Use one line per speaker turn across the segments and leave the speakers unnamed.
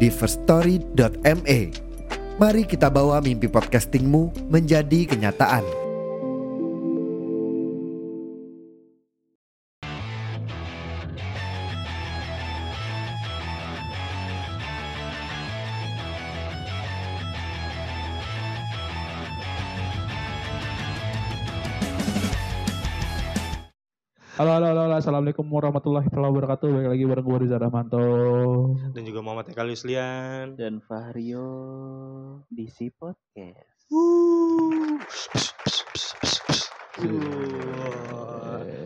di firststory.me. Mari kita bawa mimpi podcastingmu menjadi kenyataan.
Halo, halo, halo, halo. Assalamualaikum warahmatullahi wabarakatuh. Balik lagi bareng gue Riza Rahmanto.
dan juga Muhammad Eka Luslian.
dan Fahrio DC Podcast.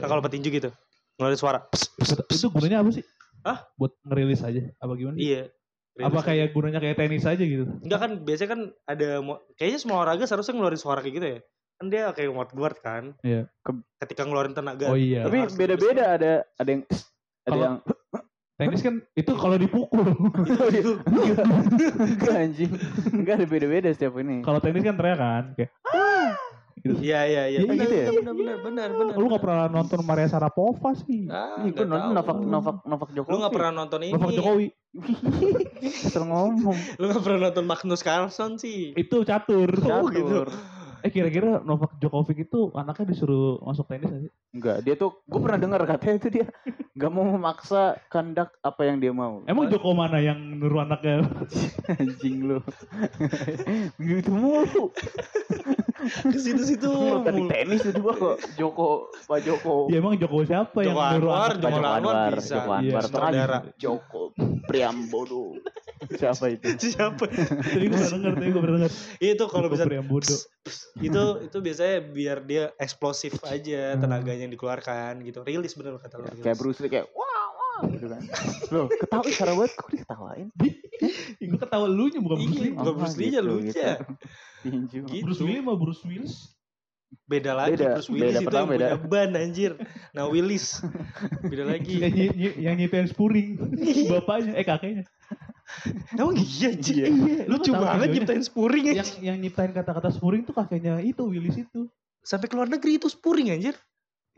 Nah, kalau petinju gitu, ngeluarin suara.
Itu- Itu gunanya apa sih?
Hah?
Buat ngerilis aja? Apa gimana?
Iya.
Apa kayak gunanya kayak tenis aja gitu?
Enggak kan biasanya kan ada mo- kayaknya semua olahraga seharusnya ngeluarin suara kayak gitu ya. Kan dia kayak word-word kan.
Iya.
Ke- Ketika ngeluarin tenaga.
Oh iya.
Tapi
Harus
beda-beda ada ada yang ada
Kalau-
yang
Tenis kan itu kalau dipukul.
Iya. Gitu.
Oh, iya.
enggak anjing. Enggak ada beda-beda setiap ini.
kalau tenis kan teriak kan. Kayak,
Iya iya iya.
Iya,
Benar,
gitu ya?
Benar benar benar benar.
"Oh, lu gak pernah nonton Maria Sarapova sih.
Ah,
Ih, gue
nggak
nonton
tahu.
Novak Novak Novak Jokowi.
Lu gak pernah nonton ini.
Bapak Jokowi.
Asal ngomong.
Lu gak pernah nonton Magnus Carlsen sih.
Itu catur.
Oh,
Catur.
gitu.
Eh kira-kira Novak Djokovic itu anaknya disuruh masuk tenis aja.
Enggak, dia tuh gue pernah dengar katanya itu dia enggak mau memaksa kandak apa yang dia mau.
Emang Joko mana yang nyuruh anaknya?
Oh.
anjing lu. Begitu mulu.
Ke situ-situ.
Mulu Tadi
mulu.
tenis itu gua kok Joko Pak Joko.
ya emang Jokowi siapa yang
Joko
nyuruh
Anwar,
anaknya?
Joko Anwar bisa.
Joko Anwar,
Iya,
sutradara.
Joko Priambodo. Siapa itu?
Siapa?
Tadi gue pernah denger, tadi gue pernah denger.
Iya, Itu kalau bisa
Joko Priambodo.
Psst, psst. itu itu biasanya biar dia eksplosif aja tenaganya yang dikeluarkan gitu rilis bener kata lu
Hmm. Ya,
rilis.
kayak Bruce Lee kayak wah wah gitu kan. Loh, ketawa cara banget kok diketawain.
Gue ketawa lu nya bukan Bruce
Iya,
Lee.
bukan
Apa
Bruce Lee-nya,
gitu,
lu
gitu.
aja.
Tinju.
Gitu.
Bruce Lee sama Bruce Willis.
beda lagi
Beda,
Bruce Willis
beda,
itu
pertama
yang
beda.
punya ban anjir nah Willis beda
Iya.
lagi
Yang, ny- ny- iya, yang nyetain spuring. Bapaknya, eh kakeknya.
emang iya anjir
Iya.
Iya,
lucu banget nyiptain spuring
Yang,
anjir.
yang nyiptain kata-kata spuring tuh kakeknya itu, Willis itu.
sampai keluar negeri itu spuring anjir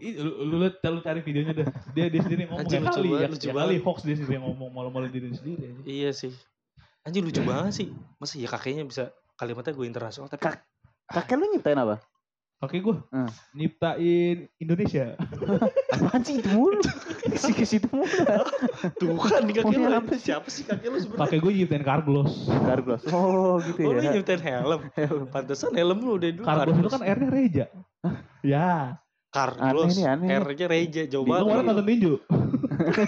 Ih, Lu, lu, liat, lu cari videonya dah. Dia, dia sendiri yang ngomong.
Anjir,
ya
lucu
kali,
banget,
ya,
lucu
ya
banget.
kali hoax dia sendiri yang ngomong. Malu-malu diri sendiri aja.
iya sih anjir lucu
Iya.
banget sih masih ya kakeknya bisa kalimatnya gue internasional tapi
Kak- Kakek lu nyiptain apa?
Kakek gue
Hmm.
nyiptain Indonesia.
Apaan sih itu mulu? Si ke situ mulu.
tuh kan kakek lu
Maunya apa sih?
siapa sih kakek lu sebenarnya
Kakek gue nyiptain Carglass.
Kargos. Oh, gitu
Oh, lu
ya.
nyiptain helm. Pantesan helm lu udah dulu.
Carglass itu kan R-nya Reja. Ya.
Carlos.
Aneh nih, aneh nih.
R-nya Reja jauh
Di
Lu kemarin
banget.
nonton tinju.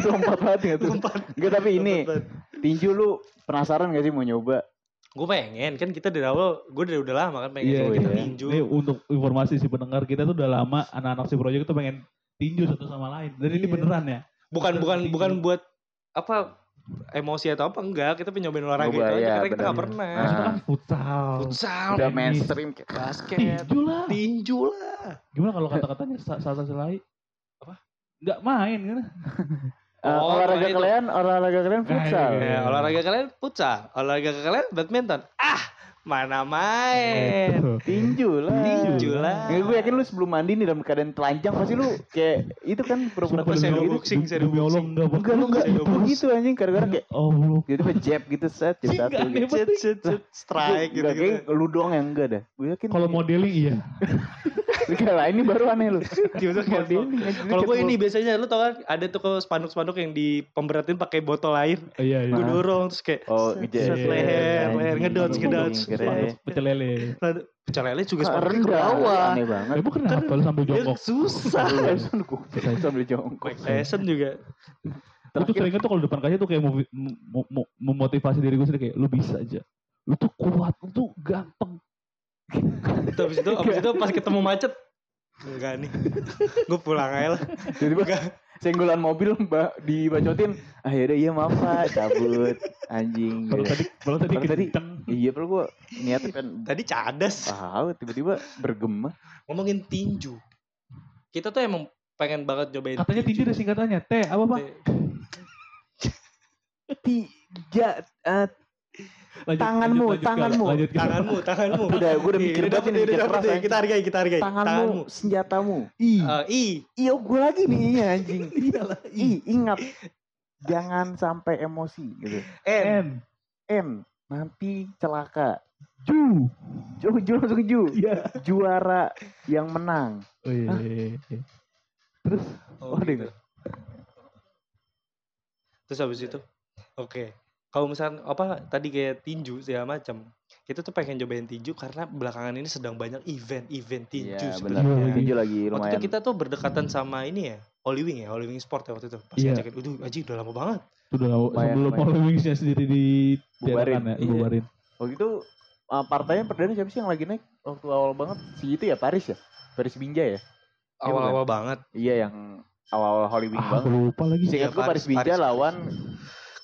Lompat banget ya tuh.
Tempat.
Enggak, tapi ini tinju lu penasaran gak sih mau nyoba?
Gue pengen kan kita dari awal, gue dari udah lama kan pengen
Iya,
coba
kita
tinju.
Ini untuk informasi si pendengar kita tuh udah lama anak-anak si project itu pengen tinju satu sama lain. Dan ini
Iya.
beneran ya.
Bukan bukan
Tinju.
bukan buat apa emosi atau apa enggak, kita pengen nyobain olahraga
Coba,
itu aja
iya,
karena kita
benar.
gak pernah.
Nah, itu kan futsal.
Futsal,
Udah
tenis.
mainstream kayak basket.
Tinju lah.
tinju lah.
Gimana kalau kata-katanya sa- Sasa Selai? Apa? Nggak main kan?
Eh,
Oh,
olahraga
itu.
kalian, olahraga kalian
Nah,
futsal.
iya,
Ya, olahraga kalian futsal, olahraga kalian badminton. Ah, mana main.
Gitu.
Tinju lah.
Eh, Tinju lah.
Nggak, gue yakin lu sebelum mandi nih dalam keadaan telanjang pasti lu kayak itu kan pura-pura
Sumpah,
telanjang
shadow
demi-
gitu.
boxing,
demi
shadow
Allah, nggak
boxing.
Enggak, lu
bakal.
enggak
Shadow boxing.
begitu anjing gara-gara kayak
Oh, lu.
jadi tiba jab gitu set, jab
Sih,
satu
nggak
gitu.
hebat.
Cet, cet, cet, strike gitu,
Enggak
gitu-gitu.
kayak lu doang yang enggak dah. Gue yakin.
Kalau modeling iya.
enggak lah ini baru aneh lu.
Gitu kan.
Modeling, anjing,
Kalau gue
ketemu-
ini biasanya lu tau kan ada tuh kalau spanduk-spanduk yang dipemberatin pakai botol air.
Iya, iya.
Gue dorong terus kayak
Oh,
set,
ngejab.
set, leher, leher ngedodge, ngedodge.
Keren.
Pecel lele.
Lalu Pecah lele juga
Ah,
spanduknya ke
rendah.
bawah.
Aneh banget.
Emang kenapa
Kan-
lu sambil
Ya,
jongkok?
susah.
Lu langsung gue sambil jongkok.
Mike Tyson juga.
Gue tuh
Terakhir
sering tuh kalau depan kaca tuh kayak mau, mau, mau memotivasi diri gue sendiri kayak lu bisa aja. Lu tuh kuat, lu tuh gampang.
Terus Abis itu, abis itu pas ketemu macet. enggak nih gue pulang aja lah
Tiba-tiba senggolan mobil mbak dibacotin ah yaudah iya maaf pak cabut anjing
Kalau
gitu.
tadi kalau tadi
Kalau tadi-
kenceng.
iya perlu gua niatnya pengen
tadi cadas
tahu tiba-tiba bergema
ngomongin tinju kita tuh emang pengen banget nyobain
Katanya tinju ada singkatannya. T apa pak?
tiga eh,
Lanjut,
Tanganmu,
lanjut, lanjut,
tanganmu.
Kak. Lanjut, Kak.
tanganmu tanganmu Iya,
gitu. udah gua udah
Ih,
mikir
dapet
banget
nih,
ini mikir
dapet
keras
nih.
anjing.
kita hargai kita hargai
tanganmu senjatamu
Ih,
Eh, i
iya gua lagi nih iya, anjing i ingat jangan sampai emosi gitu
n
N,
n nanti celaka
Ju.
ju ju langsung ju
Iya.
juara yang menang
Oh, iya,
Hah?
iya, iya. Terus
Oh,
Oh,
gitu.
dengar.
Terus habis itu, oke. Kalau misalkan apa tadi kayak tinju segala macam, kita tuh pengen cobain tinju karena belakangan ini sedang banyak event-event tinju.
Iya,
sebenarnya.
benar.
sebenarnya.
Tinju lagi
Waktu
lumayan.
itu kita tuh berdekatan sama ini ya, Holy Wing ya, Holy Wing Sport ya waktu itu. Pas
Iya.
ngajakin, aduh aji udah lama banget.
sudah
Lumayan,
sebelum
lumayan.
Holy Wings-nya sendiri di
Bubarin.
diadakan ya,
Iya.
bubarin.
Waktu itu uh, partainya perdana siapa sih yang lagi naik waktu awal banget? Si itu ya Paris ya? Paris Binjai ya?
Awal-awal banget.
Iya yang awal-awal Hollywood
Ah, aku
banget.
lupa lagi.
Seingat
Hmm. Iya,
gue Paris,
Paris-
Binjai
Paris-
lawan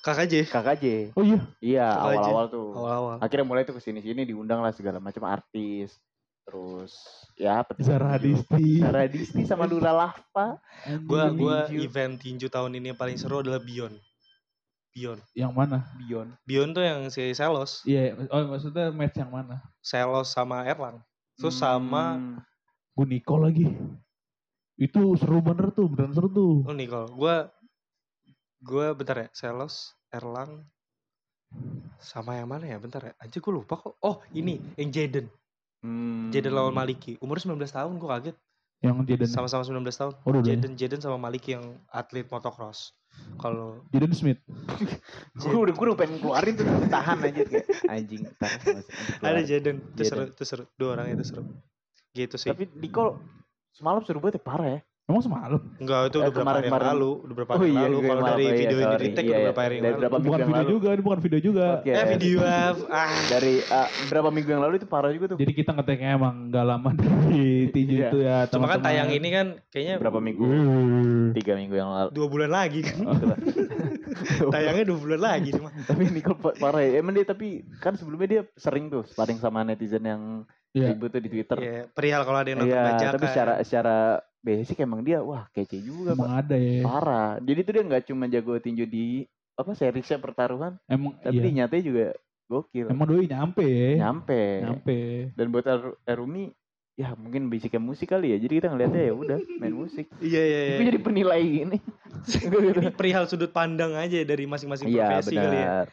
Kakak aja.
KKJ.
Oh iya,
Iya,
KKJ.
awal-awal tuh.
Awal-awal.
Akhirnya mulai tuh kesini-sini diundang lah segala macam artis. Terus ya petinju.
Zara Hadisti.
iya. Zara Disti sama Lula Lahpa.
Gua
Anjing.
gua
tinju.
event tinju tahun ini yang paling seru adalah Beyond. Beyond.
yang mana?
Bion.
Beyond tuh yang si Selos,
Iya, oh maksudnya match yang mana?
Selos sama Erlang. Terus sama
Hmm,
Guniko lagi. Itu seru bener tuh, beneran seru tuh.
Oh Nicole, gue gue bentar ya, Selos, Erlang, sama yang mana ya? Bentar ya, aja gue lupa kok. Oh ini yang Jaden,
hmm.
Jaden lawan Maliki, umur 19 tahun gue kaget,
Yang Jaden.
sama-sama 19 tahun.
Oh, udah.
Jaden Jaden sama Maliki yang atlet motocross. Kalau
Jaden Smith.
Gue udah, gue udah pengen keluarin tuh tapi tahan aja kayak anjing. Tahan,
ada
masih- keluarin.
Jaden, itu
Jaden.
seru, itu seru, dua orang itu seru. Gitu sih.
Tapi Diko semalam seru banget ya, parah ya.
Emang semalam.
Enggak itu udah berapa hari
eh,
yang
kemarin-kemarin.
lalu, udah berapa
Oh
hari yang
iya,
lalu.
gue
Kalau
maaf,
dari
oh iya,
video yang di
sorry.
take
Iya,
udah
iya.
berapa hari yang
Dari
lalu.
berapa Iya, minggu
bukan
yang
video
lalu.
juga, ini bukan video juga.
Podcast.
Eh video ah.
dari ah, berapa minggu yang lalu itu parah juga tuh.
Jadi kita ngeteknya emang gak lama dari tinju
Iya.
itu ya.
Cuma kan
teman-teman.
tayang ini kan kayaknya
berapa minggu?
Uh.
Tiga minggu yang lalu.
dua bulan lagi kan.
Hmm.
Itulah. Oh.
Tayangnya dua bulan lagi cuma.
tapi Nicole pa- parah ya. Emang dia tapi kan sebelumnya dia sering tuh sparring sama netizen yang
Iya.
ribut tuh di Twitter.
Iya, perihal kalau ada yang nonton
Iya,
bajakan.
tapi secara secara basic emang dia wah kece juga
Emang
Pak.
ada ya.
Parah. Jadi tuh dia nggak cuma jago tinju di apa seriesnya pertaruhan,
Emang
tapi
iya.
dia nyatanya juga gokil.
Emang doi nyampe ya.
Nyampe.
Nyampe.
Dan buat Ar- Arumi ya mungkin basicnya musik kali ya. Jadi kita ngeliatnya ya udah main musik.
Iya iya iya.
Tapi jadi penilai gini.
Ini perihal sudut pandang aja dari masing-masing
Iya
profesi kali ya.
benar.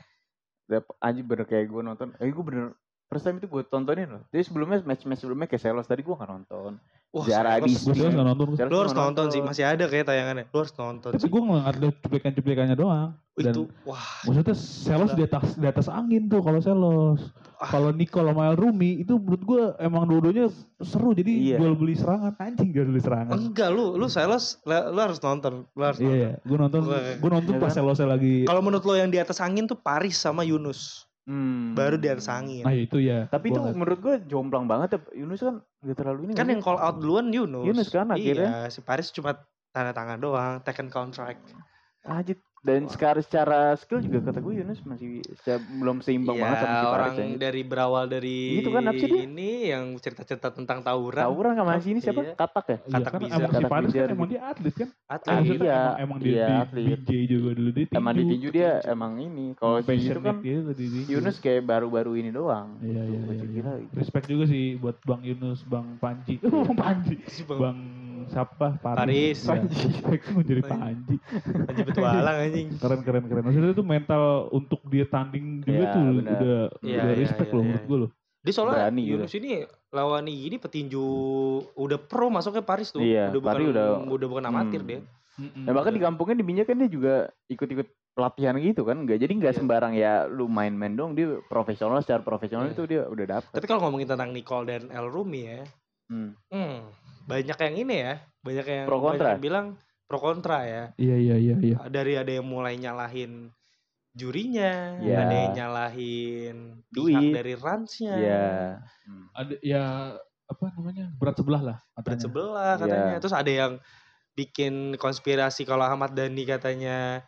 Ya. Anjir bener kayak gue nonton. Eh gue bener first time itu gue tontonin loh. Jadi sebelumnya match match sebelumnya kayak Selos tadi gue gak nonton.
Wah,
Zara
lu harus-
Gue jelas gak nonton.
Selos
Lu harus
gua
nonton sih, masih ada kayak tayangannya. Lu harus nonton
Tapi
sih.
gue ngeliat ada cuplikan-cuplikannya doang. dan-
Itu wah,
Maksudnya selos
Gila.
di atas di atas angin tuh kalau selos.
Ah.
Kalau Nicole sama El Rumi itu menurut gue emang dua-duanya seru jadi
Iya.
jual beli serangan anjing jual beli serangan.
enggak lu lu sales lu harus nonton. Lu harus
Iya,
nonton.
iya. gue nonton
Gua-
gue nonton
Iya
pas
kan?
selosnya lagi.
Kalau menurut lo yang di atas angin tuh Paris sama Yunus.
Hmm.
Baru di atas angin.
Nah itu ya. Gua
Tapi itu
nggak-
menurut gue jomplang banget ya. Yunus kan gak terlalu ini.
Kan yang call out duluan Yunus.
Yunus kan
Iya,
akhirnya.
si Paris cuma tanda tangan doang, taken contract.
Anjir. Dan sekarang secara skill juga kata gue Yunus masih se- belum seimbang banget
Iya,
sama si Paris ya.
orang
yang itu.
dari berawal dari
Gitu kan, apa sih dia?
ini yang cerita-cerita tentang tawuran.
Tawuran sama si ini siapa?
Iya.
Katak ya?
Iya,
katak
kan
bijar.
emang si
Katak
Paris kan
bijar
emang
gitu.
dia atlet kan?
Atlet.
Ah,
Maksudnya
iya.
emang, emang dia
Iya,
di,
atlet.
DJ juga dulu dia
Emang di
tinju.
tinju dia emang ini. Kalau si itu kan
Passionate gitu dia tuh di tinju.
Yunus kayak baru-baru ini doang.
Iya,
Gitu,
iya,
gua
iya,
kira-
iya. Respect juga sih buat Bang Yunus, Bang Panji. Bang Panji.
Si Bang-
Bang siapa?
Paris.
Paris. Ya, respect mau jadi Panji.
Anjing petualang anjing.
Keren keren keren. Maksudnya itu mental untuk dia tanding juga
Iya,
tuh
benar.
udah
Iya,
udah
iya,
respect
iya,
loh
iya.
menurut gue loh.
Dia soalnya
Berani gitu.
Yunus ini lawan ini petinju udah pro masuknya Paris tuh.
Iya,
udah bukan
Paris udah-
udah bukan amatir
Hmm.
dia.
Nah bahkan
Iya.
di kampungnya di Binjai kan dia juga ikut-ikut pelatihan gitu kan nggak jadi nggak
Iya.
sembarang ya lu main-main dong dia profesional secara profesional
Iya.
itu dia udah dapet
Tapi kalau ngomongin tentang Nicole dan El Rumi ya,
Hmm.
hmm, banyak yang ini ya, banyak yang
Pro
banyak
kontra.
yang bilang pro kontra ya.
Iya iya iya iya.
Dari ada yang mulai nyalahin jurinya,
Iya.
ada yang nyalahin pihak
Duit.
Iya. dari ransnya.
Iya.
Ada ya apa namanya berat sebelah lah
berat
katanya.
sebelah katanya.
Iya.
Terus ada yang bikin konspirasi kalau Ahmad Dhani katanya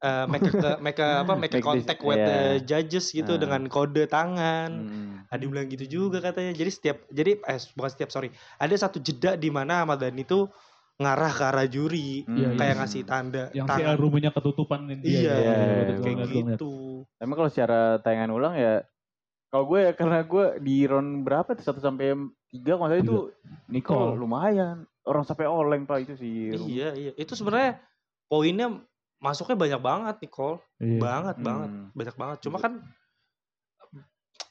eh make a, make a- apa make a
Make this-
contact with
iya.
the judges gitu
Ah.
dengan kode tangan.
Hmm.
Ada yang bilang gitu juga katanya. Jadi setiap jadi eh bukan setiap sorry, ada satu jeda di mana Ahmad Dhani tuh ngarah ke arah juri
Hmm.
Iya, iya.
kayak ngasih tanda
yang si
tangan.
albumnya ketutupan ini dia ya,
Iya,
Iya, iya, iya.
kayak
Betul, betul,
gitu.
Emang kalau secara tayangan ulang ya kalau gue ya karena gue di round berapa tuh 1 sampai 3 kalau nggak salah itu
Nicole.
Nicole lumayan. Orang sampai oleng Pak itu sih.
Iya, iya. Itu sebenarnya poinnya masuknya banyak banget Nicole.
Iya.
Banget banget.
Hmm.
banyak banget. Cuma kan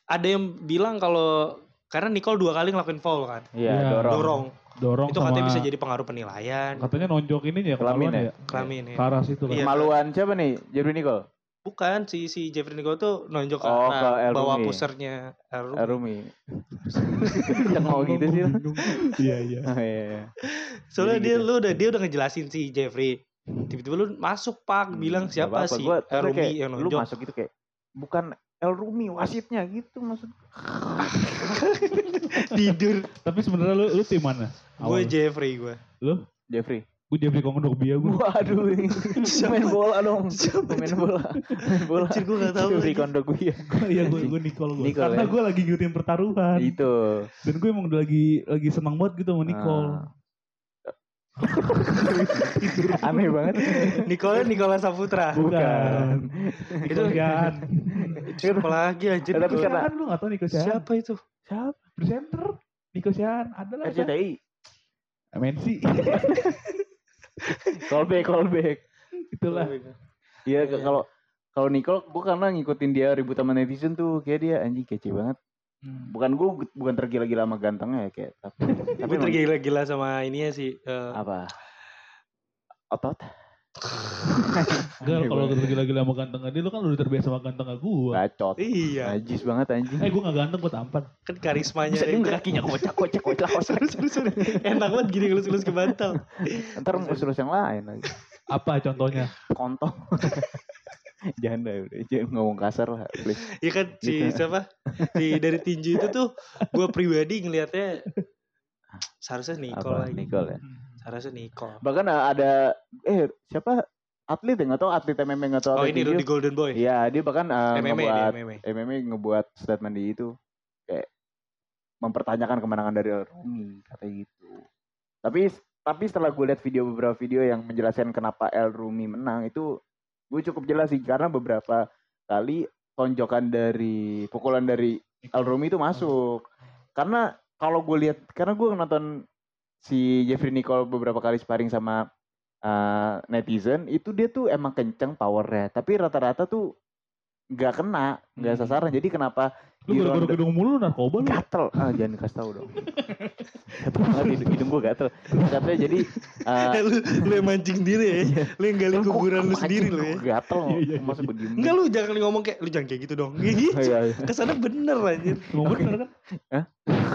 ada yang bilang kalau karena Nicole dua kali ngelakuin foul kan,
Iya,
Iya.
dorong.
dorong.
dorong
Itu
sama
katanya bisa jadi pengaruh penilaian,
katanya nonjok ini ya kelamin
Kelamin
ya,
kelamin ya.
ke arah situ kan
Iya.
Kemaluan siapa nih? Jerry Nicole.
Bukan si si Jeffrey Nicole tuh nonjok karena
Oh, ke El
bawa
Rumi.
pusernya El Rumi.
Arumi. Yang mau gitu sih. lu.
iya iya
Ah, iya, iya.
Soalnya
Jadi
dia
gitu.
lu udah dia udah ngejelasin si Jeffrey. Tiba-tiba lu masuk Pak
Hmm,
bilang
nggak
siapa
apa-apa.
sih
Gua-
El
gua
Rumi
kayak,
yang
Lu
nonjok.
masuk gitu kayak bukan El Rumi wasitnya gitu maksud.
Tidur.
tapi sebenarnya lu lu tim mana
gue
Awal.
Jeffrey gue.
Jeffrey.
gue Jeffrey Kongnobia gue
Waduh. main bola dong.
Siapa?
Main bola. Main bola.
Anjir gue gak tau.
Jeffrey
lagi.
ya. Kondoguya.
Iya gue gue Nicole gue.
Nicole,
Karena
ya.
gue lagi ngikutin pertaruhan.
Itu.
Dan gue emang udah lagi lagi senang banget gitu sama Nicole.
Ah. Aneh banget.
Nicole Nicola Saputra.
Bukan.
Itu
Nicole Sian.
itu apa lagi anjir.
Iya, Eh, Tapi
Tapi
Nicole?
karena-
kan lu gak tau Nicole Sian.
Siapa itu?
Siapa?
Presenter. Nicole Sian. Ada lah. ada.
RCTI.
MNC.
Callback, callback.
Itulah.
Iya
Iya.
kalau kalau Nicole gue karena ngikutin dia ribut sama netizen tuh kayak dia anjing kece banget. Bukan gue bukan tergila-gila sama gantengnya ya kayak tapi tapi
Gue
emang
tergila-gila sama ininya sih. eh,
apa? Otot. Iya,
Gal
Aneh
kalau
banget.
tergila-gila sama ganteng dia lu kan udah terbiasa sama ganteng gue.
bacot.
iya,
Najis banget anjing.
Eh gue gak ganteng gue tampan.
kan karismanya
Bisa dia
aja.
kakinya kocak kocak kocak kocak.
Sorry, sorry, sorry. Enak banget gini ngelus-ngelus ke bantal.
Ntar mau selus yang lain lagi.
Apa contohnya?
Kontong. jangan dah udah jangan ngomong kasar lah please.
Iya kan si
Gitu.
siapa? Si dari tinju itu tuh gue pribadi ngelihatnya seharusnya Nicole
Apa
lagi.
Nicole ya?
Seharusnya Nicole.
Bahkan ada eh siapa atlet yang atau atlet MMA nggak tahu
Oh
atlet
ini di
tinju.
Golden Boy.
Iya dia bahkan eh,
MMA dia,
ngebuat
MMA.
MMA ngebuat statement di itu kayak mempertanyakan kemenangan dari El
Hmm,
Rumi katanya gitu. Tapi tapi setelah gue lihat video beberapa video yang menjelaskan kenapa El Rumi menang itu gue cukup jelas sih karena beberapa kali tonjokan dari pukulan dari El Rumi itu masuk. Karena kalau gue lihat karena gue nonton si Jeffrey Nicole beberapa kali sparring sama eh, netizen itu dia tuh emang kenceng powernya tapi rata-rata tuh nggak kena nak
Hmm.
sasaran jadi kenapa
Lu
di
gara-gara
ronde-
gedung mulu lu narkoba lu.
gatel ah jangan dikasih tahu dong gatel banget hidung, hidung gue gatel katanya jadi eh,
Eh, lu, lu yang mancing diri ya. Lu yang gali
Iya. kok
kuburan lu
anjing
sendiri lu
kok
ya.
gatel
Iya, iya,
masa gue diem
Enggak lu jangan ngomong kayak lu jangan kayak gitu dong.
Oh, iya, iya.
Kesana bener anjir.
Mau bener kan?
Hah?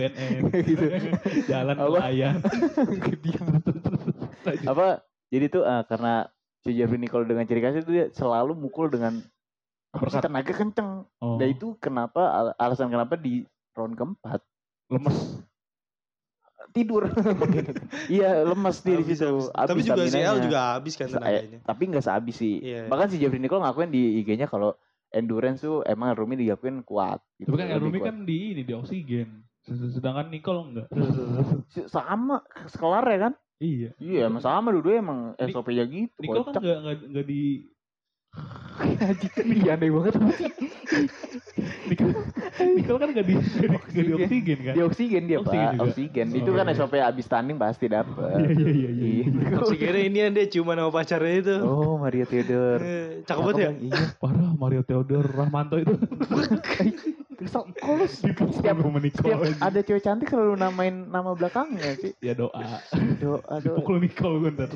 Band M.
gitu
Jalan
Apa?
layang.
apa jadi tuh eh, karena si Jeffrey Nicole dengan ciri khasnya itu dia selalu mukul dengan
Uppercut.
tenaga kenceng
Oh,
Dan Nah, itu kenapa al- alasan kenapa di round keempat
lemes.
tidur. iya, lemas dia di
Habis, habis.
situ. Habis
Tapi juga si
staminanya.
El juga habis kan
Sa-
tenaganya.
Tapi nggak sehabis sih.
Iya.
Bahkan si Jeffrey Nicole ngakuin di IG-nya kalau endurance tuh emang Rumi diakuin kuat. gitu,
Tapi kan El
lebih
Rumi
kuat.
kan di ini di oksigen. Sedangkan Nicole enggak.
Si- sama sekelar ya kan?
iya.
Iya, emang sama dulu emang
Ni-
SOP-nya gitu.
Nicole kan gitu.
kocak.
enggak enggak enggak di
Iya, aneh banget.
Nicole, Nicole kan enggak di enggak di
Oksigen.
oksigen kan.
Di oksigen dia,
Oksigen
Pak.
juga.
Oksigen. Itu
Oh,
kan
iya.
SOP abis tanding pasti
Iya
dapet.
iya iya iya.
Iya.
Si kira ini yang dia ciuman sama pacarnya itu.
Oh, Maria Theodore.
Eh, Cakep banget ya?
Iya.
Parah Mario Theodore Rahmanto itu
Terus kok lu
setiap
setiap setiap ada cewek cantik selalu namain nama belakangnya sih.
ya doa
Doa doa.
pukul Nicole gue ntar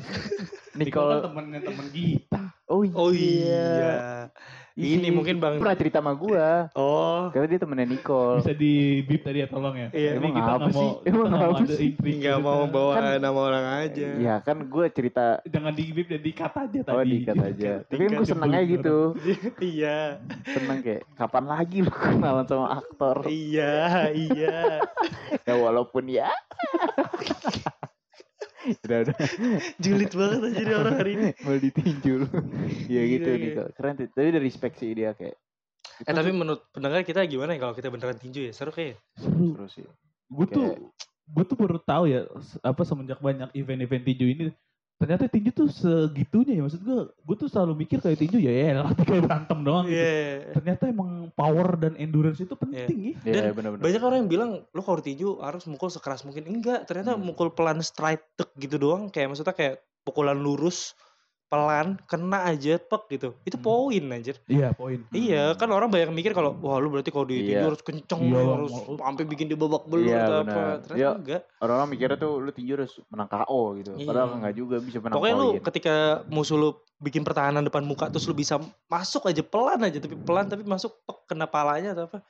Nicole kan
Nicole.
temennya temen kita
Oh iya.
Oh iya. Ini mungkin Bang-
pernah cerita sama gua.
Oh,
Karena dia temennya Nicole.
Bisa di beep tadi ya tolong ya. Ini
Iya,
emang
kita
apa
nggak mau,
sih? Emang
kita nggak
apa
ada
sih?
intrik. gitu
nggak mau bawa
Kan-
nama orang aja.
Iya kan gue cerita
Jangan di beep dan dikat aja tadi.
oh dikat aja. Tapi kan
Dikat
gue seneng
nyebelin
aja gitu.
Iya,
Seneng kayak kapan lagi lu kenalan sama aktor.
iya, iya.
Ya walaupun ya. udah udah
Julid banget aja nih orang hari ini.
mau ditinjul. ya
Gila,
gitu
gila.
Nicole. Keren sih. Tapi dari respect sih dia kayak.
iya. Eh tapi menurut pendengar kita gimana ya kalau kita beneran tinju ya? Seru kayak.
seru sih.
gue tuh
Kayak-
gue tuh baru tahu ya se- apa semenjak banyak event-event tinju ini ternyata tinju tuh segitunya ya maksud gue gue tuh selalu mikir kayak tinju ya ya lah kayak berantem doang gitu.
Iya.
ternyata emang power dan endurance itu penting ya
Iya
Dan
benar-benar.
Banyak orang yang bilang lo kalau tinju harus mukul sekeras mungkin. Enggak, ternyata
Hmm.
mukul pelan straight tek gitu doang kayak maksudnya kayak pukulan lurus pelan kena aja pek gitu itu
Hmm.
poin anjir
iya poin
iya
Hmm.
kan orang banyak mikir kalau wah lu berarti kalau di tinju
Iya.
harus kenceng
Iya,
lu
Bang.
harus sampai bikin dia babak belur
Iya,
atau apa
benar.
ternyata
Iya.
enggak
orang-orang mikirnya tuh lu tinju harus menang KO gitu.
Iya.
Padahal nggak juga bisa menang
Pokoknya lu
poin.
ketika musuh lu bikin pertahanan depan muka terus lu bisa masuk aja pelan aja tapi pelan tapi masuk pek, kena palanya atau apa.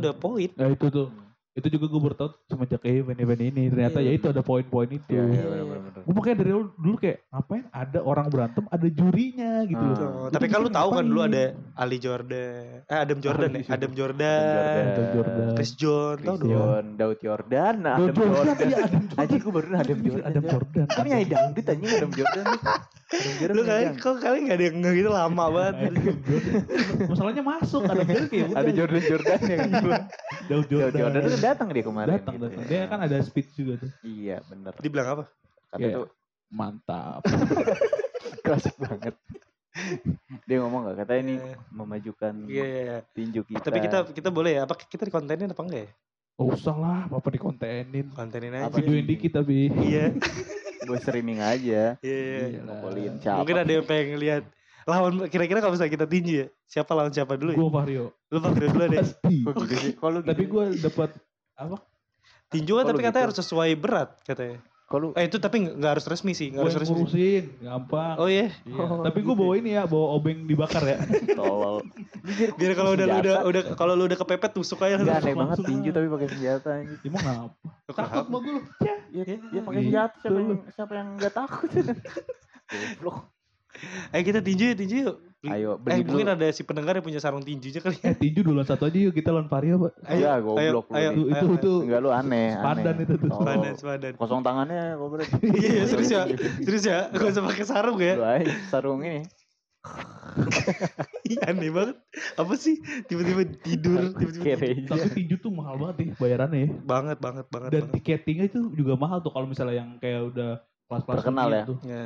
Hmm.
udah poin.
nah itu tuh itu juga gue baru tahu semenjak event-event ini ternyata ya
Iya.
itu ada poin-poin itu
Iya, iya
Iya.
benar-benar.
gue makanya dari dulu, dulu kayak ngapain ada orang berantem ada jurinya gitu
Ah.
loh
Tuh,
Itu
tapi kan lu
bikin
tahu kan dulu
ngapain?
ada Ali Jordan, eh Adam Jordan ya,
Ali
Adam Jordan,
Ada Jordan
Chris John, tau
Chris
dong.
John, Daud Jordan,
Adam
Adam
Iya. Jordan
Jordan.
iya Adam Jordan
Anjing gue baru ada Adam Jordan.
Adam Jordan
Kan ya dangdut anjing Adam Jordan. Adam Jordan.
Lu
ya
kali
dangdut.
kok kali nggak ada yang nggak gitu lama
Iya.
banget.
Adam Jordan. Masalahnya masuk ada Jordan kayak udah
Ada Jordan Jordan yang gua.
Daud
Daud Jordan itu
Jordan.
datang dia kemarin.
Datang
gitu
datang.
ya.
Dia kan ada speech juga tuh.
Iya bener.
Dia bilang apa?
Kata
Iya.
tuh
Mantap.
klasik banget. Dia ngomong gak katanya ini
Iya.
memajukan
Iya, iya, iya.
tinju kita.
Tapi kita kita boleh ya? Apa kita dikontenin apa enggak ya?
Oh, usah lah, apa dikontenin.
Kontenin aja.
Apa
Videoin dikit tapi.
Iya,
gue streaming
iya,
aja.
iya.
Iyalah.
Polin siapa?
Mungkin ada yang pengen lihat lawan kira-kira kalau misalnya kita tinju ya, siapa lawan siapa dulu ya?
Gue Vario.
Lu Fahri dulu deh.
Pasti.
Kok gitu sih? Kok lu
Tapi
gitu?
gue dapat apa?
Tinju kan
Kalau
tapi katanya
gitu.
harus sesuai berat katanya.
Kok lu
Eh itu tapi nggak nggak harus resmi sih, nggak
Gue
harus resmi.
ngurusin, gampang.
Oh iya,
Iya.
Oh,
Tapi gue
gitu.
bawa ini ya, bawa obeng dibakar ya.
tolol.
biar kalau udah lu
Senjata.
udah udah kalau lu udah kepepet tusuk aja. langsung.
Enggak aneh banget
langsung.
tinju tapi pakai senjata anjing.
Emang kenapa?
Lu
Takut
kenapa?
mau gue lu.
Ya,
Iya.
ya pakai
Gitu.
senjata siapa yang siapa yang enggak takut? Goblok.
Eh kita tinju yuk, tinju yuk. Beli- eh
Ayo, beli dulu.
mungkin ada si pendengar yang punya sarung tinjunya kali. ya.
Eh, tinju dulu satu aja yuk kita lawan Vario, Pak.
Enggak, Iya, goblok lu
ayo,
Itu
ayo,
itu
ayo.
itu.
Ya, Enggak lu aneh, aneh.
Sepadan itu tuh.
Tolol.
Sepadan, sepadan.
Kosong tangannya kok berarti.
Iya, iya, serius ya. Serius ya, gak usah pakai sarung
Lu
ya.
aja sarung ini.
Ih, aneh banget. Apa sih tiba-tiba tidur, tiba-tiba
Kere.
Tapi tinju tuh mahal banget ya bayarannya ya.
banget banget banget.
dan
banget.
tiketingnya itu juga mahal tuh kalau misalnya yang kayak udah kelas-kelas
Terkenal
dunia
ya?
tuh.
Ya.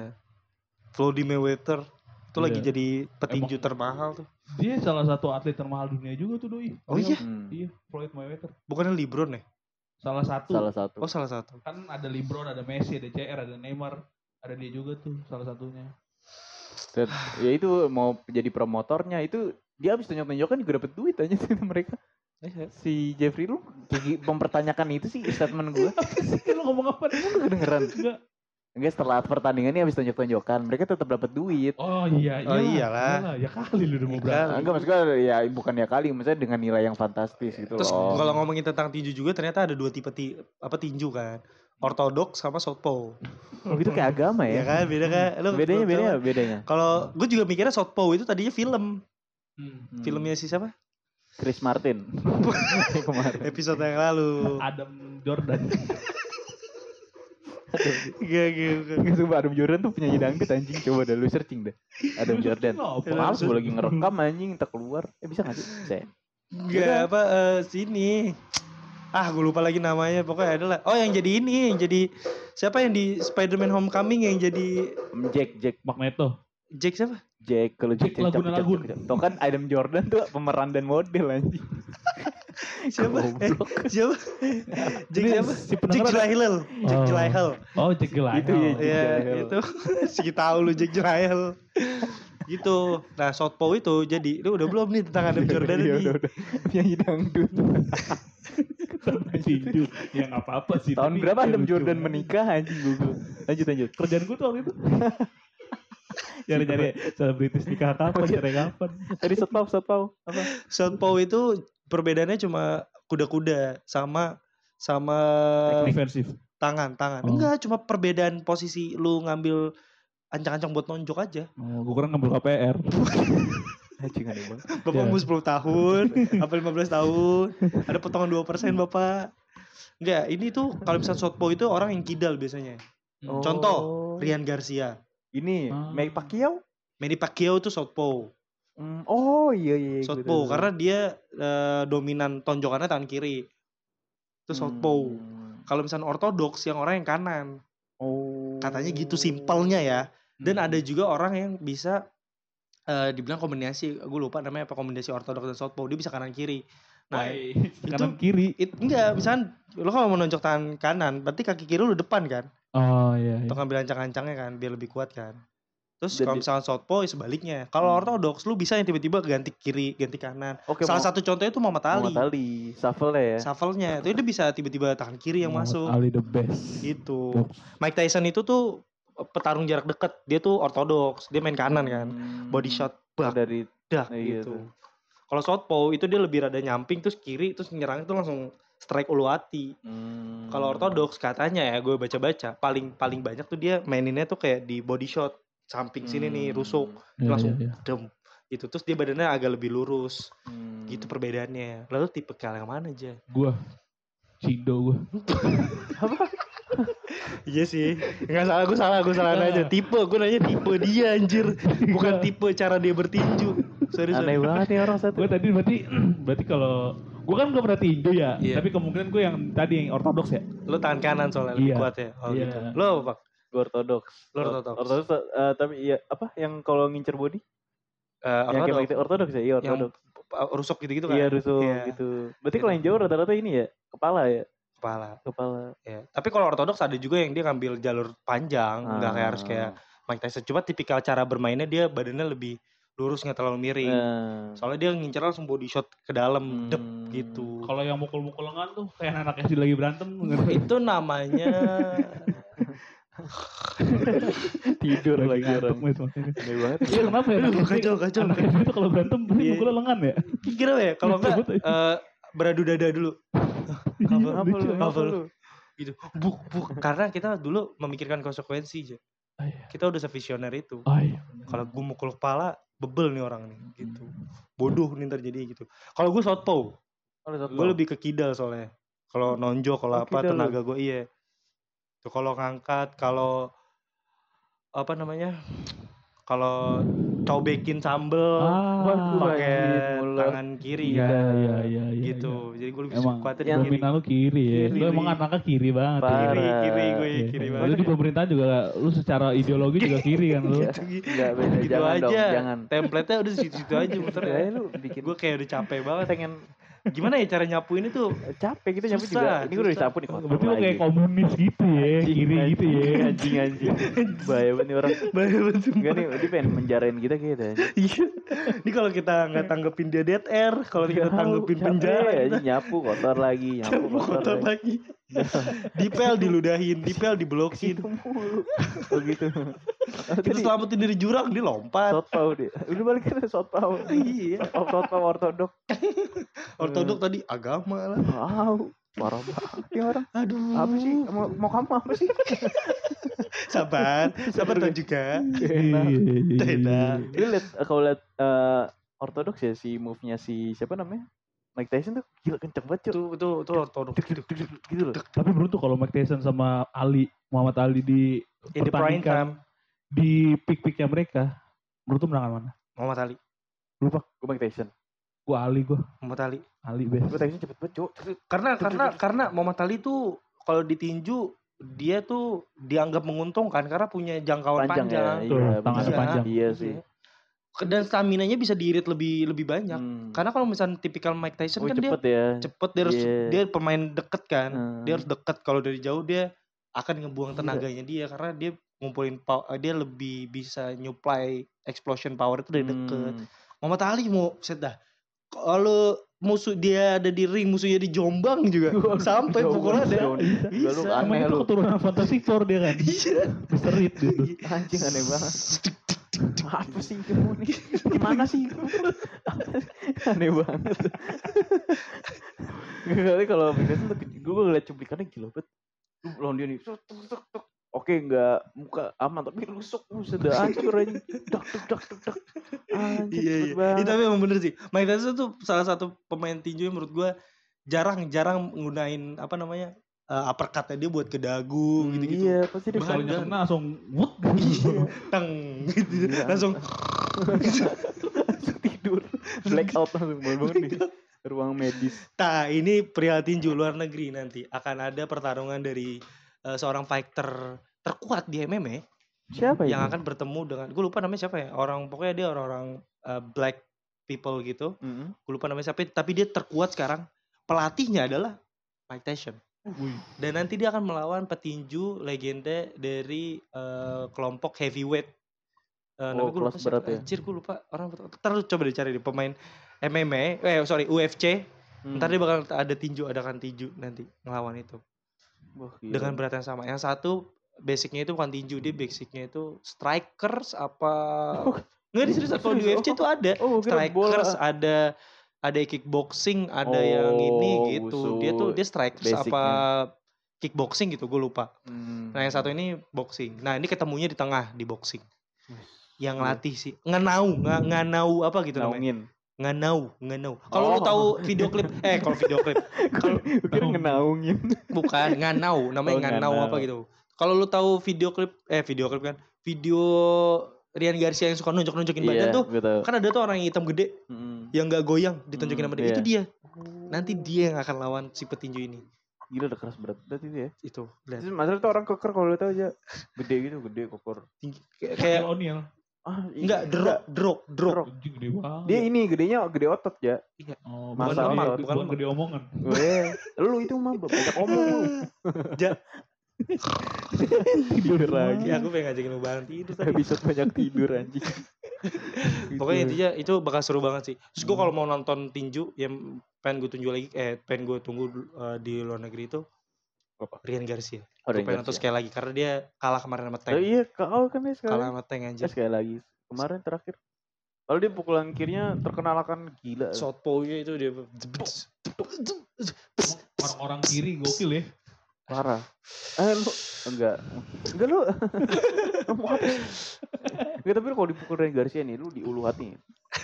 Floyd Mayweather itu
Iya.
lagi jadi petinju
Emang-
termahal tuh.
dia salah satu atlet termahal dunia juga tuh doi
Oh
Dia-
iya,
Hmm,
iya Floyd Mayweather
bukannya LeBron ya?
salah satu
Salah satu.
Oh salah satu.
kan ada LeBron ada Messi ada CR ada Neymar ada dia juga tuh salah satunya
Dan, ya itu mau jadi promotornya itu dia habis tunjuk-tunjukkan juga dapat duit aja sih mereka.
Iya,
Si Jeffrey lu kayak gi- mempertanyakan itu sih statement gue.
apa sih lu ngomong apa nih?
Kedengeran.
Enggak.
Enggak setelah pertandingan ini habis tunjuk-tunjukkan mereka tetap dapat duit.
oh iya iyalah,
Oh, iyalah.
iyalah. ya kali lu udah mau
Iya
berangkat
kali.
Enggak maksud gue ya bukan ya kali misalnya dengan nilai yang fantastis gitu
Terus
loh.
kalau ngomongin tentang tinju juga ternyata ada dua tipe ti, apa tinju kan. Ortodoks sama southpaw.
Oh, itu kayak agama
Ya
ya.
kan beda kan. Lu
bedanya
belum tahu.
bedanya bedanya.
Kalau gue juga mikirnya southpaw itu tadinya film.
Hmm.
Hmm.
Filmnya si siapa?
Chris Martin. Yang kemarin.
Episode yang lalu.
Adam Jordan
Gak gitu.
Enggak sumpah Adam Jordan tuh penyanyi dangdut anjing coba dah lu searching dah. Adam Jordan.
Kenapa?
Males gue lagi ngerekam anjing tak keluar. Eh bisa gak sih? Bisa. ya?
Gak apa eh, sini. Ah gue lupa lagi namanya pokoknya adalah oh yang jadi ini yang jadi siapa yang di Spider-Man Homecoming yang jadi
Hmm, Jack Jack
Magneto
Jack siapa?
Jack kalau Jack
Jack Laguna Lagun.
Tuh kan Adam Jordan tuh pemeran dan model anjing.
Siapa? Eh, siapa? Jack
Ini
siapa?
si
Jack
pendengar ada-
Gyllenhaal. Jack
Oh.
Gyllenhaal.
oh Jack Gyllenhaal
Itu ya.
Iya
Gyllenhaal.
itu si tahu lu Jack Gyllenhaal gitu nah southpaw itu jadi lu udah belum nih tentang Adam Jordan
Iya,
nih
udah, udah. Penyanyi dangdut.
tinju ya nggak apa-apa sih
Tahun
tapi ya
berapa Adam
lucu.
Jordan menikah anjing gue. Lanjut lanjut.
kerjaan gue tuh waktu itu Nyari-nyari selebritis nikah kapan, cerai kapan.
Tadi setpau, setpau. Apa?
Southpaw itu perbedaannya cuma kuda-kuda sama sama
Defensif.
tangan tangan.
Oh.
Enggak, cuma perbedaan posisi lu ngambil ancang-ancang buat nonjok aja.
Oh, gue kurang ngambil KPR.
Hmm,
Hajangan emang.
Bapakmu
Iya.
Ya.
10 tahun, apa 15 tahun, ada potongan 2% Bapak. Enggak, ini tuh kalau misalnya Southpaw itu orang yang kidal biasanya. Hmm.
Oh,
Contoh, Rian Garcia.
Oh. Ini,
Ah.
Mike Pacquiao.
Manny Pacquiao itu Southpaw.
Hmm, oh iya iya. gue
Southpaw
tahu.
karena dia eh, dominan tonjokannya tangan kiri. Itu Southpaw.
Hmm.
Kalau misalnya ortodoks yang orang yang kanan.
Oh.
Katanya gitu simpelnya ya. Dan
Hmm.
ada juga orang yang bisa eh, dibilang kombinasi, gue lupa namanya apa kombinasi ortodoks dan southpaw, dia bisa kanan kiri.
iya.
Nah,
kanan kiri.
it, enggak, misalnya lo kalau mau nonjok tangan kanan, berarti kaki kiri lu depan kan?
Oh iya. iya.
Untuk ngambil ancang-ancangnya kan, biar lebih kuat kan. Terus
Dan
kalau
di-
misalnya southpaw ya sebaliknya. Kalau
Hmm.
ortodoks lu bisa yang tiba-tiba ganti kiri, ganti kanan.
Oke,
Salah
Salah satu
satu contohnya itu Muhammad Ali.
tali. tali. Shuffle ya.
Shuffle-nya itu dia bisa tiba-tiba tangan kiri yang
Muhammad
masuk.
Ali the best.
Gitu.
Box.
Mike Tyson itu tuh petarung jarak dekat. Dia tuh ortodoks, dia main kanan kan.
Hmm.
Body shot bak
dari
dak
Iya,
gitu.
tuh.
Kalau southpaw itu dia lebih rada nyamping terus kiri terus nyerang itu langsung strike ulu hati.
Hmm.
Kalau ortodoks katanya ya gue baca-baca paling paling banyak tuh dia maininnya tuh kayak di body shot samping sini nih
Hmm.
rusuk
Iya,
langsung
iya, iya.
dem gitu terus dia badannya agak lebih lurus
Hmm.
gitu perbedaannya lalu tipe yang mana aja
Gua Cindo gua.
Iya sih. Enggak salah, gue salah, gue salah aja. Tipe, gue nanya tipe dia anjir. Bukan tipe cara dia bertinju. Sorry,
Hmm. Aneh
sorry.
banget nih orang satu.
Gue tadi berarti berarti kalau gue kan gak pernah tinju ya,
Iya.
tapi kemungkinan gue yang tadi yang ortodoks ya.
Lo tangan kanan soalnya
Iya.
lebih kuat ya. Oh
Iya.
gitu. Lo apa, Pak?
Gua ortodoks.
Lo ortodoks.
Ortodoks eh, tapi ya apa yang kalau ngincer body?
Eh,
Yang kayak
ortodoks.
begitu, ortodoks ya? Iya
Yang
ortodoks.
uh, rusuk gitu-gitu kan.
Iya rusuk
Iya.
gitu. Berarti kalau yang jauh rata-rata ini ya kepala ya
Kepala.
kepala.
Iya. Tapi kalau ortodoks ada juga yang dia ngambil jalur panjang, enggak kayak
Ah.
harus kayak Mike Tyson. Cuma tipikal cara bermainnya dia badannya lebih lurus nggak terlalu miring.
Eh.
Nah.
Soalnya dia ngincer langsung body shot ke dalam, dep
Hmm.
gitu.
Kalau yang mukul-mukul lengan tuh kayak anak SD lagi berantem.
itu namanya
tidur lagi
gitu.
orang.
Aneh banget.
Aneh banget.
Iya kenapa ya?
Aduh, kacau kacau
Anak SD tuh kalau berantem berarti
Iya.
mukulnya lengan ya.
Kira ya kalau enggak eh, beradu dada dulu. Apa,
Apa lu?
Apa
Apa
lu?
lu?
Gitu. Buk buk karena kita dulu memikirkan konsekuensi aja.
Ah, iya.
Kita udah sevisioner itu.
Oh, iya.
Kalau gue mukul kepala bebel nih orang nih gitu. Bodoh nih terjadi gitu. Kalau gue southpaw,
Kalau satu.
gue lebih ke kidal soalnya. Kalau
Hmm.
nonjok kalau
Oh,
apa
kidal lu.
tenaga gue iya. Tuh kalau ngangkat, kalau apa namanya? Kalau cobekin sambel
Ah,
waduh,
pakai
anjing, mulut.
tangan kiri
iya,
kan,
iya, iya, iya,
gitu jadi gue lebih
Emang
kuatnya di
Yang
kiri
dominan lu kiri ya.
Kiri.
Lu emang anaknya kiri banget. ya.
Parah.
kiri kiri gue
Iya.
kiri
Lu
banget
di pemerintahan juga lu secara ideologi juga kiri kan lu.
Iya. Enggak beda.
Gitu
jangan dong,
aja.
jangan.
template-nya udah situ situ aja muter
Udah ya lu bikin
gue kayak udah capek banget
pengen
gimana ya cara nyapuin itu
capek gitu nyapu
Susah,
juga. Ini gue udah
susah.
disapu nih. kotor
Berarti lu
lagi.
kayak komunis gitu ya,
Anjing,
kiri
anjing,
gitu ya.
Anjing anjing. Bahaya banget nih orang. Enggak nih, dia pengen menjarain kita gitu, kayaknya. dah.
Iya. ini kalau kita nggak tanggepin dia dead air kalau kita
Tahu,
tanggepin
capek
penjara
aja,
kita
Eh, nyapu kotor lagi, nyapu kotor
kotor
lagi.
lagi dipel diludahin dipel diblokin
Gitu mulu. Oh gitu.
kita selamatin dari jurang dia lompat
Sotpau deh. Udah balik ke sotpau.
iya
Sotpau sotpau ortodok.
ortodok tadi agama lah
Wow. Parah banget nih orang.
aduh
Apa sih? Mau, mau kamu apa sih?
sabar sabar tau juga
Enak.
Iya.
Tidak.
Lu liat, eh, kalau liat eh, ortodoks ya si move-nya si siapa namanya? Mike Tyson tuh gila kenceng banget cuy.
itu itu itu ortodok
Duk, duk, duk, duk, gitu loh.
Tapi beruntung kalau Mike Tyson sama Ali, Muhammad Ali di
in the prime
pertandingan
time
di pick-picknya mereka, beruntung menangan mana?
Muhammad Ali
Gue Mike Tyson.
Gua Ali gua,
Muhammad Ali
Ali best.
Gue Tyson cepet banget cuy.
karena karena karena Muhammad Ali tuh kalau ditinju dia tuh dianggap menguntungkan karena punya jangkauan
Panjang,
Oh, panjang,
ya.
Tuh,
Iya,
tangannya
bener.
panjang.
Iya sih.
Ke- dan stamina nya bisa diirit lebih lebih banyak
Hmm.
karena kalau misalnya tipikal Mike Tyson
Oh,
kan
cepet ya.
dia cepet dia harus
Iya.
dia pemain deket kan
Hmm. Iya.
dia harus deket kalau dari jauh dia akan ngebuang tenaganya dia karena dia ngumpulin pow- dia lebih bisa nyuplai explosion power itu dari deket
Hmm.
Muhammad Ali mau set dah. Kalau musuh dia ada di ring, musuhnya di Jombang juga. Sampai
Jauh
pukulannya ada.
banget, jauh. Gak lu
Bisa.
Iya.
aneh
Emang itu
lu.
keturunan Fantastic Four dia kan,
Iya.
Mister Reed gitu.
Anjing aneh banget. apa sih kamu nih gimana sih kamu? aneh banget kali kalau Mayweather tuh gue ngeliat cuplikannya gila banget Lu lawan dia nih tuk, tuk, tuk, tuk. oke nggak muka aman tapi rusuk sudah hancur aja dak dak dak dak dak anjir
iya, iya. Iya,
Gitu, cepet banget
tapi emang bener sih. Mike Tyson tuh salah satu pemain tinju yang menurut gue jarang-jarang nggunain apa namanya eh, uppercutnya dia buat ke dagu
Hmm,
gitu-gitu.
iya pasti dia
Kalau
Banyak.
banyak
nyerna nah, langsung wut.
Teng, gitu.
Iya.
langsung
tidur black out langsung bangun di ruang medis
Nah, ini perihal tinju luar negeri nanti akan ada pertarungan dari eh, seorang fighter terkuat di MMA
siapa
yang
ya
akan bertemu dengan gue lupa namanya siapa ya orang pokoknya dia orang-orang eh, black people gitu gue lupa namanya siapa tapi dia terkuat sekarang pelatihnya adalah Mike Tyson dan nanti dia akan melawan petinju legenda dari eh, kelompok heavyweight Eh, namanya
Oh,
gua lupa
kelas
siapa.
berat ya?
Anjir gue lupa orang Ntar lu coba dicari di pemain MMA, eh sorry UFC. Ntar dia bakal ada tinju, adakan tinju nanti ngelawan itu
Iya.
dengan berat yang sama. Yang satu basicnya itu bukan tinju, dia basicnya itu strikers apa? Nggak di serius kalau di
Serius?
UFC itu ada
oh gua kira bola
strikers ada ada kickboxing ada yang ini
Oh,
gitu dia tuh
so
dia strikers apa kickboxing gitu gue lupa
Hmm.
nah yang satu ini boxing nah ini ketemunya di tengah di boxing
Wes.
yang
Iya.
latih sih nganau nga- nganau apa gitu namanya
naungin
nganau nganau kalau lu
Oh.
tahu video klip eh kalau video klip Kalau-
gue kira
Naungin.
ngenaungin
bukan nganau namanya
Oh,
nganau apa
nganau.
gitu kalau lu tahu video klip eh video klip kan video Rian Garcia yang suka nunjuk-nunjukin badan
Iya,
tuh
gua tahu.
kan ada tuh orang yang hitam gede
Mm.
yang nggak goyang ditunjukin
Hmm,
sama dia
iya.
itu dia nanti dia yang akan lawan si petinju ini
Gila udah keras berat berat itu ya.
itu lihat.
Terus masalah tuh orang keker kalau lu tahu aja. Gede gitu, gede keker.
Tinggi. Kayak- kayak
Kayak O'Neal.
Ah, iya.
nggak drop drop drop
Drop.
Anjing gede banget.
Dia ini gedenya gede otot ya.
Oh, bukan
Masa
gede,
otot,
bukan,
bukan otot.
gede omongan.
Weh, Oh, iya. lu itu mah banyak omong lu.
Tidur
lagi.
ya aku pengen ngajakin lu bareng tidur tadi
Episode banyak tidur anjing.
pokoknya
Gitu.
intinya itu bakal seru banget sih terus gue kalau mau nonton tinju yang pengen gue tunjuk lagi eh pengen gue tunggu eh, di luar negeri itu
Apa?
Rian Garcia
Oh,
gue
Ranger
pengen nonton
ya.
sekali lagi karena dia kalah kemarin sama Tank
Oh, iya, kau kan ya sekali.
kalah sama Tank
Eh,
anjir
sekali lagi. Kemarin terakhir. Kalau dia pukulan kirinya terkenalakan gila.
Southpaw-nya itu dia
Orang-orang kiri gokil ya.
Parah. Eh lu enggak. Enggak lu. Kamu apa sih? Enggak tapi lu kalau dipukul Ren Garcia nih, lu di ulu hati.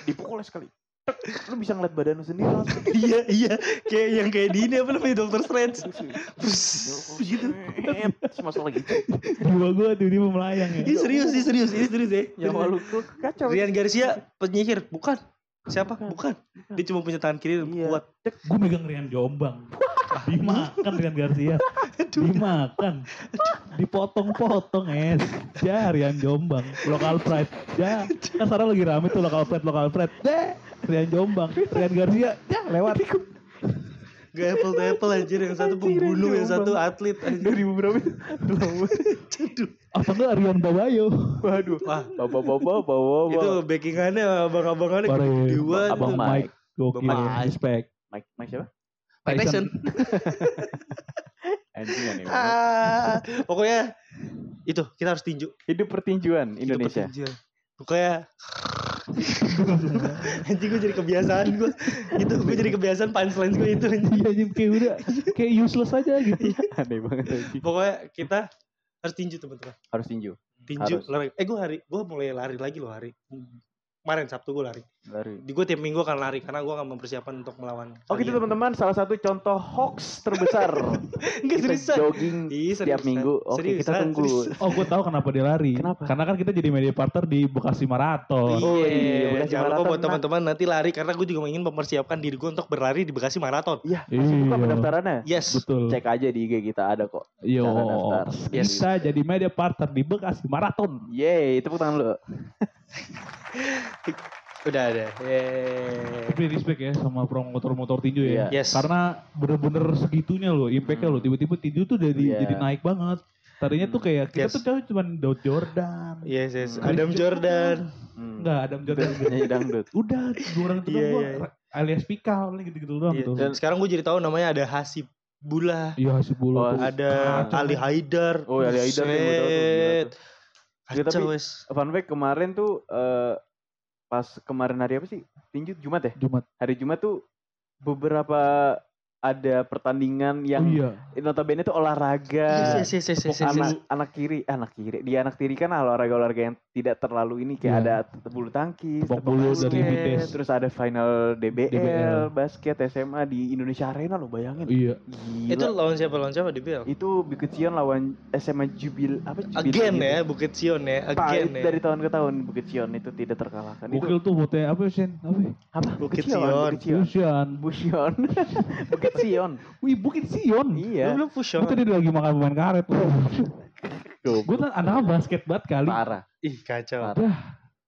Dipukul sekali. Tek, Lu bisa ngeliat badan lu sendiri langsung.
iya iya kayak yang kayak di ini apa namanya Doctor Strange
Gitu. Masalah gitu.
Jiwa gue tuh dia melayang ya.
Ini serius, ini serius, ini serius ya.
Nyawa lu tuh kacau.
Rian Garcia penyihir, bukan. Siapa?
Bukan.
Bukan. Dia cuma punya tangan kiri dan
Iya.
kuat.
Gue megang Rian Jombang. Dimakan Rian Garcia. Dimakan. Dipotong-potong es. Ya Rian Jombang. Lokal pride. Ya. Kan sekarang lagi rame tuh lokal pride, lokal pride. Deh. Rian Jombang. Rian Garcia. Ya lewat.
Gak apple to apple anjir, yang satu
Anjir, Rian
pembunuh, yang satu
Jombang.
atlet anjir.
Dari beberapa lawan.
Aduh.
Apa enggak Rian Babayo.
Waduh.
Wah,
Bapak bapak bapak
itu
bapak.
backingannya abang-abangannya
Parah ya.
dua tuh.
Abang Mike.
Gokil. ya.
Bang Mike.
Respect.
Mike Mike siapa?
Mike Tyson.
Anjing aneh banget.
Ah, pokoknya itu kita harus tinju
Hidup pertinjuan
Hidup
Indonesia.
pertinjuan. Pokoknya anjing gue jadi kebiasaan gue itu gue jadi kebiasaan punchline gue itu anjing.
Iya anjing, kayak udah kayak useless aja gitu.
Aneh banget anjing.
pokoknya kita harus tinju teman-teman
Harus tinju.
tinju
Harus.
lari eh gue hari gue mulai lari lagi loh hari
Hmm.
kemarin sabtu gue lari
Lari.
di gue tiap minggu akan lari karena gue akan mempersiapkan untuk melawan
Oke itu Oh, gitu, teman-teman salah satu contoh hoax terbesar
enggak
kita
seriusan
jogging
Ih,
setiap
seriusan.
minggu. Oke kita
Seriusan,
tunggu.
seriusan.
Oh gue tahu kenapa dia lari.
Kenapa?
Karena kan kita jadi media partner di Bekasi Marathon.
Oh, iya,
iya,
Bekasi
jangan lupa
Marathon,
buat
tenang.
teman-teman nanti lari karena gue juga ingin mempersiapkan diri gue untuk berlari di Bekasi Marathon.
Iya masih buka
Iya.
pendaftarannya.
Yes.
Betul.
Cek aja di IG kita ada kok.
Yo,
Cara daftar. Yes.
Iya. bisa jadi media partner di Bekasi Marathon.
Yeay tepuk tangan lu.
Udah ada. Yeay.
Tapi respect ya sama promotor-promotor tinju ya.
Iya. Yes. Hmm.
Karena bener-bener segitunya loh, impactnya loh. Tiba-tiba tinju tuh jadi
Iya.
jadi naik banget. Tadinya tuh kayak kita
Yes.
tuh tahu cuman Daud Jordan.
Yes, yes.
Hmm.
Adam Jordan.
Hmm.
Enggak, Adam Jordan. juga.
Nyanyi dangdut.
Udah, dua orang itu
Iya,
doang
iya.
gua alias Pika paling gitu-gitu
Oh,
doang
Iya.
tuh.
gitu.
Dan sekarang gue jadi tahu namanya ada Hasib Bula,
Iya, Hasibullah
Oh,
tuh.
ada
kacau.
Ali Haidar.
Oh, Ali Haidar yang gua tahu tuh, gila
Buset.
tuh. Ya, tapi-
Kacau wes.
Fun fact kemarin tuh eh, pas kemarin hari apa sih? Tinju Jumat ya?
Jumat.
Hari Jumat tuh beberapa ada pertandingan yang
iya.
notabene tuh olahraga.
Yes, yes, yes, yes, yes, yes, yes.
anak anak kiri, eh, anak kiri. Di anak kiri kan olahraga-olahraga yang tidak terlalu ini kayak
Iya.
ada te- bulu tangkis,
Tebak
tebak
bulu
basket,
dari Mites.
terus ada final DBL,
DBL.
basket SMA di Indonesia Arena lo bayangin.
Iya.
Gila.
Itu
Itu
lawan siapa lawan siapa di BL?
itu Bukit Sion lawan SMA Jubil apa Jubil
Again ya, Bukit Sion ya, again ya.
dari tahun ke tahun Bukit Sion itu tidak terkalahkan. Itu
Gokil tuh botnya apa Sen? Apa?
apa?
Bukit
Bukit Sion.
Fusion.
Bukit Sion. Bukit Sion.
Wih, Bukit Sion.
Iya.
Lu, lu push
Itu
on.
dia lagi makan pemain karet. Gue kan anak basket banget kali.
Parah.
Ih, kacau.
Parah.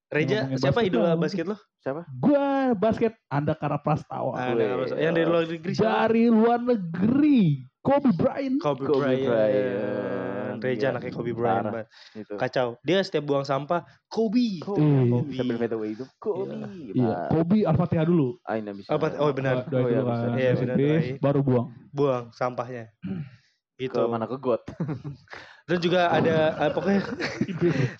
Reja,
Ngomongin
siapa
basket
idola
dong.
basket lo?
Siapa?
Gue basket Andakara Prastawa.
Ah,
gue.
nah, harus- yang dari luar negeri siapa?
Dari luar negeri. Kobe Bryant.
Kobe
Kobe
Bryant.
Bryant.
Reja
Iya.
anaknya Kobe Bryant.
Parah.
Bang.
Itu.
Kacau. Dia setiap buang sampah, Kobe.
Kobe.
Kobe.
Sambil fade away itu. Kobe. Nah,
Iya, Kobe Al-Fatihah dulu.
Aina bisa.
Apa? Oh benar,
Doain
Oh, iya,
dulu kan.
bisa.
Iya,
Terus
benar,
habis,
doain.
baru buang.
buang sampahnya.
Ke
Gitu.
mana ke God.
Dan juga ada eh, pokoknya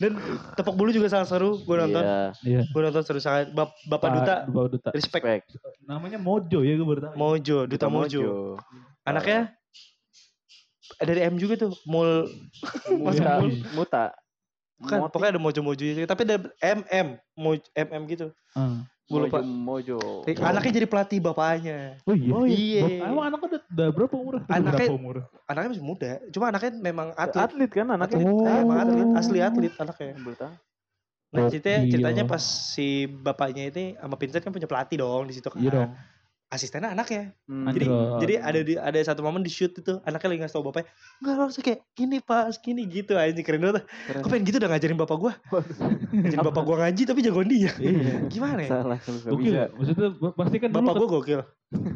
dan tepok bulu juga sangat seru gue nonton.
Iya.
Iya.
Gue nonton seru sangat Bap- Bapak
Pak-
Duta
Bapak Duta.
respect
Spek.
Namanya Mojo ya gue baru tahu.
Mojo, Duta Mojo. Anaknya dari M juga tuh, Mul. Mas
Muta.
Mul.
Muta.
Iya. Bukan,
Moti.
pokoknya ada Mojo-Mojo gitu. Tapi ada MM, Mo- MM gitu.
Ah.
Gue lupa.
Mojo. Mojo.
Eh, Anaknya jadi pelatih bapaknya.
Oh iya.
Oh iya.
Bap- Emang anaknya udah, udah berapa umur? Udah
Anaknya-
berapa umur?
Anaknya masih muda, cuma anaknya memang atlet.
Atlet kan anaknya.
Atlet.
Iya, emang atlet,
Oh.
asli atlet anaknya.
Bulu tangkis.
Nah,
Oh,
ceritanya,
iya.
ceritanya pas si bapaknya ini sama Vincent kan punya pelatih dong di situ kan.
Iya dong.
Asistennya anaknya.
Hmm.
Anjir.
Jadi
Anjrot.
jadi ada di, ada satu momen di shoot itu anaknya lagi ngasih tau bapaknya, "Enggak, langsung kayak gini, Pak, gini gitu." Anjing keren banget.
Keren.
Gue pengen gitu udah ngajarin bapak gua. Ngajarin bapak gua ngaji tapi jagoan dia.
Iya.
Gimana ya?
Salah. nggak
Gokil
bisa.
ya? Maksudnya ba- pasti kan dulu
Bapak
kan-
gua gokil.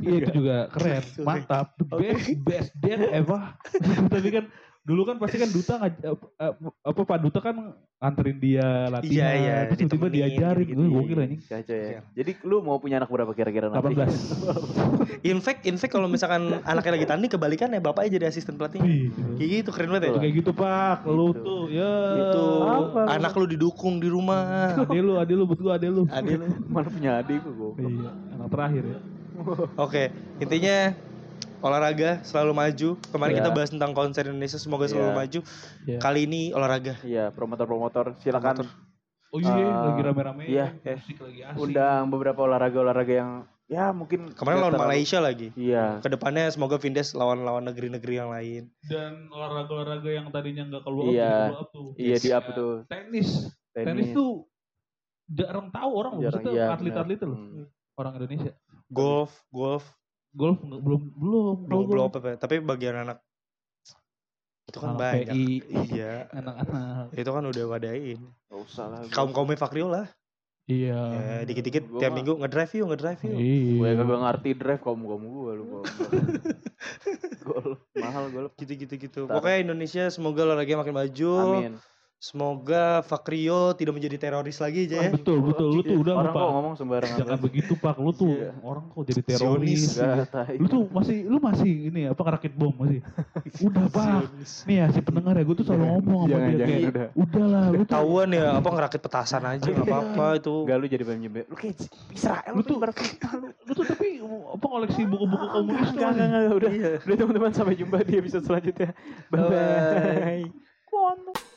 iya, itu juga keren,
Sorry.
mantap, the
Oke.
best best dad ever. Tapi kan dulu kan pasti kan duta ngaj- eh, eh, apa Pak Duta kan anterin dia latihan,
iya,
terus tiba-tiba
ditemenin,
diajarin,
gitu-gitu.
Wih, gokil anjing.
Kacau ya. Jadi lu mau punya anak berapa kira-kira nanti?
18.
In fact, in fact kalau misalkan anaknya lagi tanding kebalikannya bapaknya jadi asisten pelatih.
Wih,
Kayak gitu keren banget ya.
Tuh, Kayak gitu Pak, lu
Gitu.
tuh ya.
Itu
Apa lu?
anak lu didukung di rumah.
Ade lu, ade lu, buat gua ade lu.
Adil.
Malah punya adik gua.
Iya, anak terakhir ya.
Oke, intinya olahraga selalu maju. Kemarin
Iya.
kita bahas tentang konser Indonesia, semoga selalu
Iya.
maju.
Iya.
Kali ini olahraga.
Iya, promotor-promotor silakan
Oh iya,
Eh,
lagi rame-rame.
iya, iya.
musik lagi asik.
undang beberapa olahraga-olahraga yang ya mungkin
Kemarin lawan
terlalu-
Malaysia lagi.
Iya.
Kedepannya semoga Vindes lawan-lawan negeri-negeri yang lain.
Dan olahraga-olahraga yang tadinya nggak keluar
Iya.
jadi keluar tuh.
Iya di up
Kayak
tuh.
Tenis. tenis. tuh jarang tahu orang loh,
Jarang,
maksudnya
iya,
atlet-atlet
benar.
loh,
Hmm.
orang Indonesia.
Golf, golf,
Golf nggak- belum belum
belum belum apa, apa Tapi bagian anak itu kan banyak.
PI,
Iya,
anak-anak.
itu kan udah wadain.
Nggak usah lah.
Kaum kaumnya Fakriola.
Iya.
Eh,
Ya, dikit-dikit
Hmm. Gua
tiap
mah-
minggu ngedrive yuk, ngedrive yuk.
Iya.
Gue kagak ngerti drive kaum kaum gue lu kaum. Gol mahal gol.
Gitu-gitu gitu.
Ntar.
Pokoknya Indonesia semoga olahraga makin maju.
Amin.
Semoga Fakrio tidak menjadi teroris lagi
"Ah,
aja ya.
Betul betul lu tuh udah
Iya. Orang
lupa.
kok ngomong sembarangan.
Jangan begitu Pak, lu tuh
Iya.
orang kok jadi
Zionis.
teroris.
Nggak, tai.
Lu tuh masih lu masih ini ya, apa rakit bom masih. Udah Pak. Nih ya si pendengar ya, gue tuh selalu ngomong sama
Jangan,
dia
jangan,
kayak
udah.
udahlah lu tuh
Tahuan ya apa ngerakit petasan aja nggak apa-apa itu.
Enggak lu jadi penyembel. Lu kayak Israel
Lu
lu
tuh-
tuh
lu tuh tapi apa koleksi buku-buku komunis tuh
Enggak, enggak, enggak, udah. Udah teman-teman sampai jumpa di episode selanjutnya. Bye bye.